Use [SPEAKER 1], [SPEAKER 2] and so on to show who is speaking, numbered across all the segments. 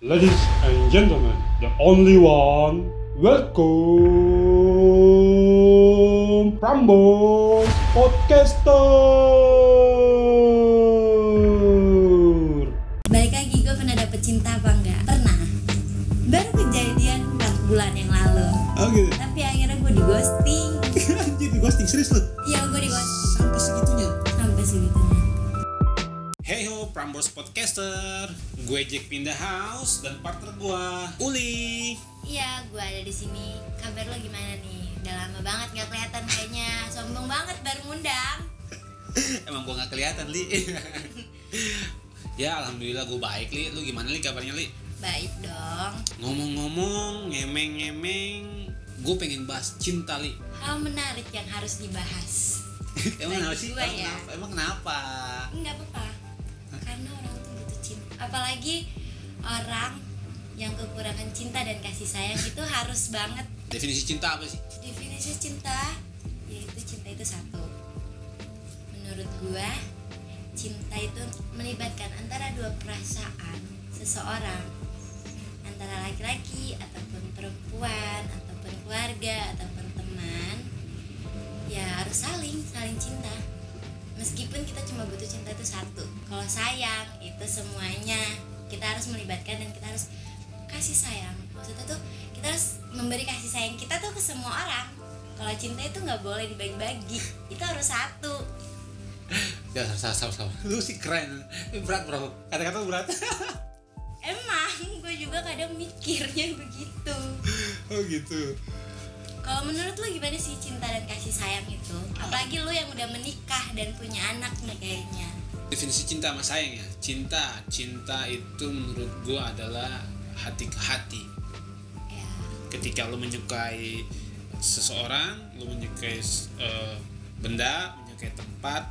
[SPEAKER 1] Ladies and gentlemen, the only one. Welcome, Prambors Podcaster.
[SPEAKER 2] Balik lagi gue pernah dapet cinta apa enggak? Pernah Baru kejadian 4 bulan yang lalu
[SPEAKER 3] Oh gitu.
[SPEAKER 2] Tapi akhirnya gue di ghosting
[SPEAKER 3] Anjir di ghosting serius lu.
[SPEAKER 2] Iya gue di ghosting
[SPEAKER 3] Sampai segitunya.
[SPEAKER 2] Sampai segitunya
[SPEAKER 3] Hey ho, Prambors Podcaster. Gue Jack pindah house dan partner gue Uli.
[SPEAKER 2] Iya gue ada di sini. Kabar lo gimana nih? Udah lama banget gak kelihatan kayaknya Sombong banget baru ngundang
[SPEAKER 3] Emang gue nggak kelihatan li. ya alhamdulillah gue baik li. Lu gimana li kabarnya li?
[SPEAKER 2] Baik dong
[SPEAKER 3] Ngomong-ngomong, ngemeng-ngemeng. Gue pengen bahas cinta li.
[SPEAKER 2] Hal menarik yang harus dibahas
[SPEAKER 3] Emang
[SPEAKER 2] Bagi
[SPEAKER 3] kenapa sih?
[SPEAKER 2] gua
[SPEAKER 3] Emang
[SPEAKER 2] ya.
[SPEAKER 3] kenapa? Emang kenapa?
[SPEAKER 2] Enggak apa-apa Karena orang tuh butuh cinta Apalagi orang yang kekurangan cinta dan kasih sayang itu harus banget
[SPEAKER 3] Definisi cinta apa sih?
[SPEAKER 2] definisi cinta yaitu cinta itu satu menurut gua cinta itu melibatkan antara dua perasaan seseorang antara laki-laki ataupun perempuan ataupun keluarga ataupun teman ya harus saling saling cinta meskipun kita cuma butuh cinta itu satu kalau sayang itu semuanya kita harus melibatkan dan kita harus kasih sayang maksudnya tuh kita harus memberi kasih sayang kita tuh ke semua orang kalau cinta itu nggak boleh dibagi-bagi itu harus satu
[SPEAKER 3] Ya salah salah salah. Lu sih keren. Ini berat bro. Kata-kata berat.
[SPEAKER 2] emang gue juga kadang mikirnya begitu
[SPEAKER 3] oh gitu.
[SPEAKER 2] kalau menurut lu gimana sih cinta dan kasih sayang itu apalagi lu yang udah menikah dan punya anak nih kayaknya
[SPEAKER 3] definisi cinta sama sayang ya cinta cinta itu menurut gua adalah hati ke hati
[SPEAKER 2] ya
[SPEAKER 3] ketika lo menyukai seseorang lo menyukai eh, benda menyukai tempat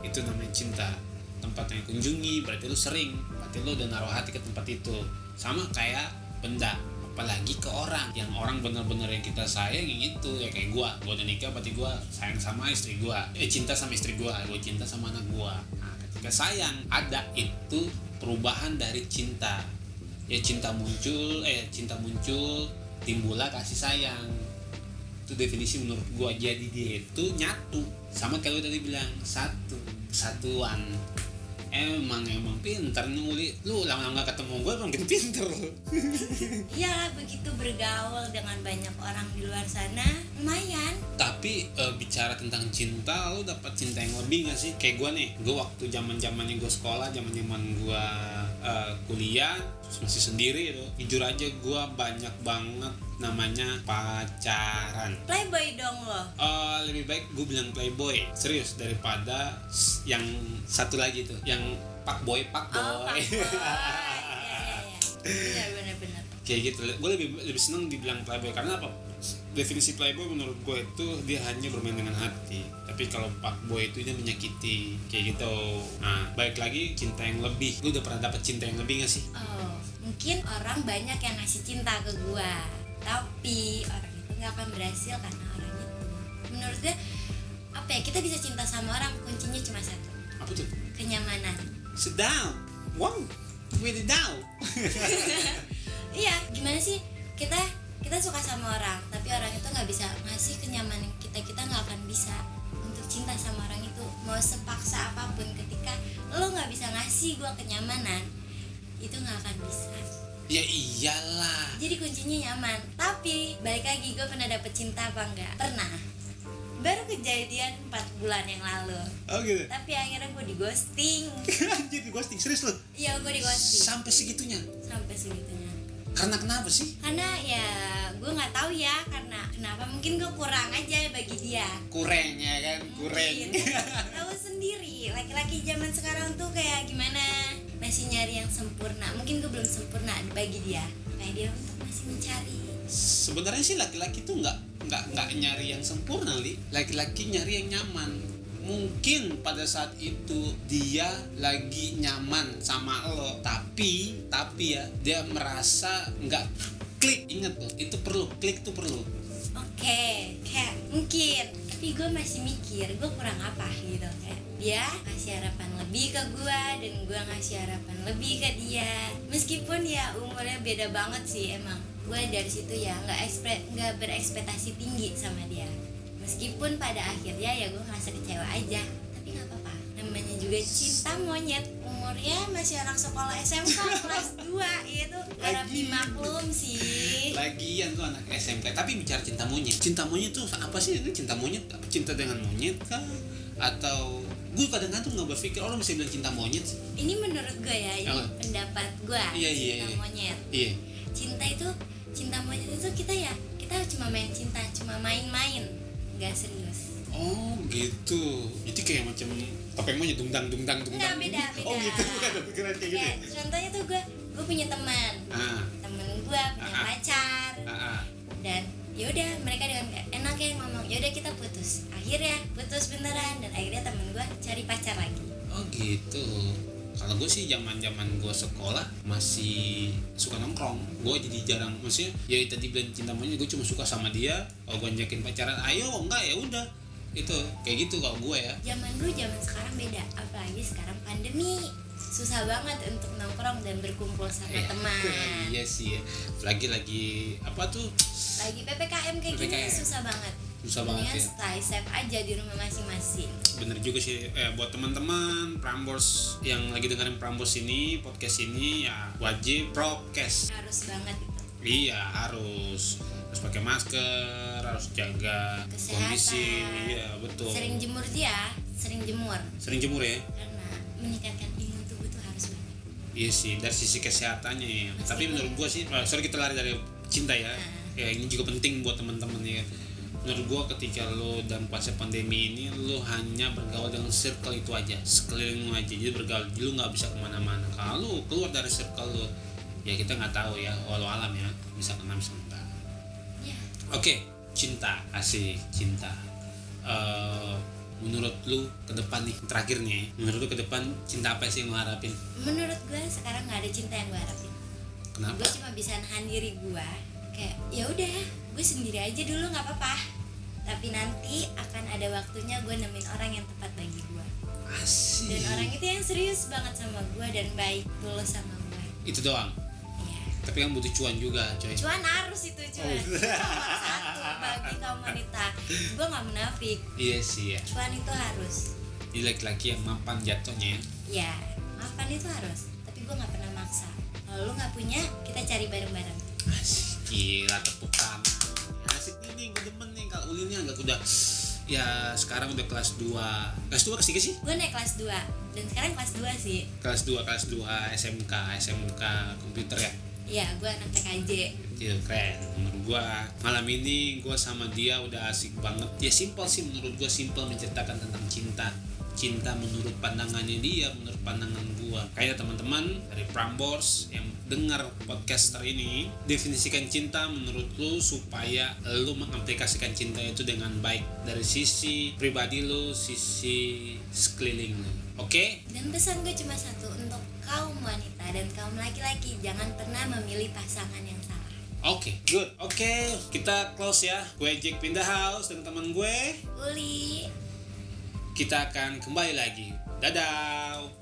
[SPEAKER 3] itu namanya cinta tempat yang kunjungi berarti lo sering berarti lo udah naruh hati ke tempat itu sama kayak benda apalagi ke orang yang orang benar-benar yang kita sayang yang itu ya kayak gua gua udah nikah berarti gua sayang sama istri gua eh cinta sama istri gua gua cinta sama anak gua nah, ketika sayang ada itu perubahan dari cinta ya cinta muncul eh cinta muncul timbullah kasih sayang itu definisi menurut gua jadi dia itu nyatu sama kalau tadi bilang satu kesatuan emang emang pinter nih Uli. lu lama-lama gak ketemu gua emang makin pinter lu
[SPEAKER 2] iyalah begitu bergaul dengan banyak orang di luar sana lumayan
[SPEAKER 3] tapi eh, bicara tentang cinta lu dapat cinta yang lebih gak sih kayak gue nih gue waktu zaman zamannya gue sekolah zaman zaman gue kuliah terus masih sendiri itu jujur aja gue banyak banget namanya pacaran
[SPEAKER 2] playboy dong lo
[SPEAKER 3] Eh, lebih baik gue bilang playboy serius daripada s- yang satu lagi tuh yang pak boy pak boy,
[SPEAKER 2] Oh, fuckboy. Iya, iya, iya. Benar, benar, benar.
[SPEAKER 3] kayak gitu gue lebih lebih seneng dibilang playboy karena apa definisi playboy menurut gue itu dia hanya bermain dengan hati tapi kalau fuckboy itu dia menyakiti kayak gitu nah baik lagi cinta yang lebih lu udah pernah dapet cinta yang lebih gak sih
[SPEAKER 2] Oh, mungkin orang banyak yang ngasih cinta ke gua, tapi orang itu nggak akan berhasil karena orang itu. Menurut gue, apa ya kita bisa cinta sama orang kuncinya cuma satu,
[SPEAKER 3] apa tuh
[SPEAKER 2] kenyamanan.
[SPEAKER 3] sedang wow really down
[SPEAKER 2] Iya, gimana sih kita kita suka sama orang, tapi orang itu nggak bisa ngasih kenyamanan kita, kita nggak akan bisa untuk cinta sama orang itu mau sepaksa apapun ketika lo nggak bisa ngasih gua kenyamanan itu nggak akan bisa
[SPEAKER 3] ya iyalah
[SPEAKER 2] jadi kuncinya nyaman tapi balik lagi gue pernah dapet cinta apa enggak pernah baru kejadian 4 bulan yang lalu
[SPEAKER 3] oh gitu
[SPEAKER 2] tapi akhirnya gue di ghosting
[SPEAKER 3] anjir di ghosting serius lu
[SPEAKER 2] iya gue di ghosting
[SPEAKER 3] sampai segitunya
[SPEAKER 2] sampai segitunya
[SPEAKER 3] karena kenapa sih
[SPEAKER 2] karena ya gue nggak tahu ya karena kenapa mungkin gue kurang aja bagi dia
[SPEAKER 3] kurang ya kan
[SPEAKER 2] Mungkin. tahu sendiri laki-laki zaman sekarang tuh kayak gimana masih nyari yang sempurna mungkin gue belum sempurna bagi dia kayak dia untuk masih mencari
[SPEAKER 3] sebenarnya sih laki-laki tuh nggak nggak nggak nyari yang sempurna li laki-laki nyari yang nyaman mungkin pada saat itu dia lagi nyaman sama lo tapi tapi ya dia merasa nggak klik inget lo itu perlu klik tuh perlu
[SPEAKER 2] Oke, kayak mungkin. Tapi gue masih mikir, gue kurang apa gitu kayak. dia ngasih harapan lebih ke gua dan gua ngasih harapan lebih ke dia meskipun ya umurnya beda banget sih emang gua dari situ ya nggak ekspre- nggak berekspektasi tinggi sama dia meskipun pada akhirnya ya gua ngerasa kecewa aja tapi nggak apa-apa namanya juga cinta monyet umurnya masih anak sekolah SMK kelas 2 itu harap
[SPEAKER 3] Lagi.
[SPEAKER 2] dimaklum sih
[SPEAKER 3] Lagian tuh anak SMK, tapi bicara cinta monyet. Cinta monyet tuh apa sih? Ini cinta monyet, apa cinta dengan monyet kah? Atau gue kadang-kadang tuh nggak berpikir orang bisa bilang cinta monyet. sih.
[SPEAKER 2] ini menurut gue ya ini
[SPEAKER 3] Apa?
[SPEAKER 2] pendapat gue
[SPEAKER 3] Iya, iya,
[SPEAKER 2] cinta
[SPEAKER 3] iya.
[SPEAKER 2] monyet
[SPEAKER 3] Iya,
[SPEAKER 2] cinta itu cinta monyet itu kita ya kita cuma main cinta cuma main-main nggak serius
[SPEAKER 3] Oh gitu. Itu kayak macam topeng monyet dungdang dungdang dungdang.
[SPEAKER 2] Enggak, beda, beda.
[SPEAKER 3] Oh gitu. Ada pikiran kayak gitu.
[SPEAKER 2] kayak contohnya tuh gue gue punya teman
[SPEAKER 3] Ah,
[SPEAKER 2] temen gue punya
[SPEAKER 3] Ah, ah.
[SPEAKER 2] pacar
[SPEAKER 3] ah, ah.
[SPEAKER 2] dan yaudah mereka dengan enak ya ngomong yaudah kita putus akhirnya putus beneran dan akhirnya temen gue cari pacar lagi
[SPEAKER 3] Oh gitu. Kalau gue sih zaman zaman gue sekolah masih suka nongkrong. Gue jadi jarang maksudnya ya tadi bilang cinta monyet gue cuma suka sama dia. Kalau gue nyakin pacaran, ayo enggak ya udah. Itu kayak gitu kalau gue ya.
[SPEAKER 2] zaman dulu zaman sekarang beda apalagi sekarang pandemi susah banget untuk nongkrong dan berkumpul sama
[SPEAKER 3] Iya.
[SPEAKER 2] teman
[SPEAKER 3] iya sih ya. Lagi lagi apa tuh
[SPEAKER 2] lagi ppkm kayak gini
[SPEAKER 3] PPKM.
[SPEAKER 2] susah banget
[SPEAKER 3] susah
[SPEAKER 2] Mendingan
[SPEAKER 3] banget ya.
[SPEAKER 2] stay safe E aja di rumah masing-masing
[SPEAKER 3] bener juga sih eh, buat teman-teman Prambors yang lagi dengerin Prambors ini podcast ini ya wajib propcast
[SPEAKER 2] harus banget gitu. itu
[SPEAKER 3] iya harus harus pakai masker harus jaga
[SPEAKER 2] Kesehatan.
[SPEAKER 3] kondisi iya betul
[SPEAKER 2] sering jemur dia sering jemur
[SPEAKER 3] Sering jemur ya
[SPEAKER 2] karena meningkatkan imun tubuh itu harus banget
[SPEAKER 3] iya sih dari sisi kesehatannya ya.
[SPEAKER 2] Meskipun-
[SPEAKER 3] tapi menurut gua sih eh, sorry kita lari dari cinta ya
[SPEAKER 2] Hmm.
[SPEAKER 3] ya ini juga penting buat teman-teman ya menurut gua ketika lo dalam fase pandemi ini lo hanya bergaul dengan circle itu aja sekeliling lo aja jadi bergaul jadi lo nggak bisa kemana-mana kalau keluar dari circle lo ya kita nggak tahu ya walau alam ya bisa kena bisa enggak
[SPEAKER 2] ya
[SPEAKER 3] oke cinta asik cinta Eh, menurut lu ke depan nih terakhir nih menurut lu ke depan cinta apa sih yang lo harapin
[SPEAKER 2] menurut gue sekarang nggak ada cinta yang gue harapin
[SPEAKER 3] kenapa
[SPEAKER 2] gue cuma bisa nahan diri gue kayak ya udah gue sendiri aja dulu nggak apa-apa tapi nanti akan ada waktunya gue nemuin orang yang tepat bagi gue
[SPEAKER 3] asik
[SPEAKER 2] dan orang itu yang serius banget sama gue dan baik tulus sama gue
[SPEAKER 3] itu doang
[SPEAKER 2] ya
[SPEAKER 3] tapi kan butuh cuan juga coy
[SPEAKER 2] cuan harus itu cuan Itu nomor satu
[SPEAKER 3] Oh.
[SPEAKER 2] bagi kaum wanita gue nggak menafik
[SPEAKER 3] Iya sih ya.
[SPEAKER 2] cuan itu harus
[SPEAKER 3] Jadi laki-laki yang mapan jatuhnya ya.
[SPEAKER 2] ya mapan itu harus tapi gue nggak pernah maksa kalau lu nggak punya kita cari bareng-bareng
[SPEAKER 3] Asik gila tepuk tangan. Asik nih nih gue demen nih kalau Uli ini agak udah ya sekarang udah kelas 2 kelas 2 kasih sih
[SPEAKER 2] gue naik kelas 2 dan sekarang kelas 2 sih
[SPEAKER 3] kelas 2 kelas 2 SMK SMK komputer ya
[SPEAKER 2] ya gue anak TKJ
[SPEAKER 3] Iya keren menurut gua malam ini gua sama dia udah asik banget ya simpel sih menurut gua simpel menceritakan tentang cinta cinta menurut pandangannya dia menurut pandangan gua kayaknya teman-teman dari Prambors yang dengar podcaster ini definisikan cinta menurut lu supaya lu mengaplikasikan cinta itu dengan baik dari sisi pribadi lu sisi sekeliling lu oke
[SPEAKER 2] dan pesan gue cuma satu untuk kaum wanita dan kaum laki-laki jangan pernah memilih pasangan yang salah
[SPEAKER 3] Oke, good. Oke, kita close ya. Gue Jack pindah house dan teman gue
[SPEAKER 2] Uli
[SPEAKER 3] kita akan kembali lagi. Dadah.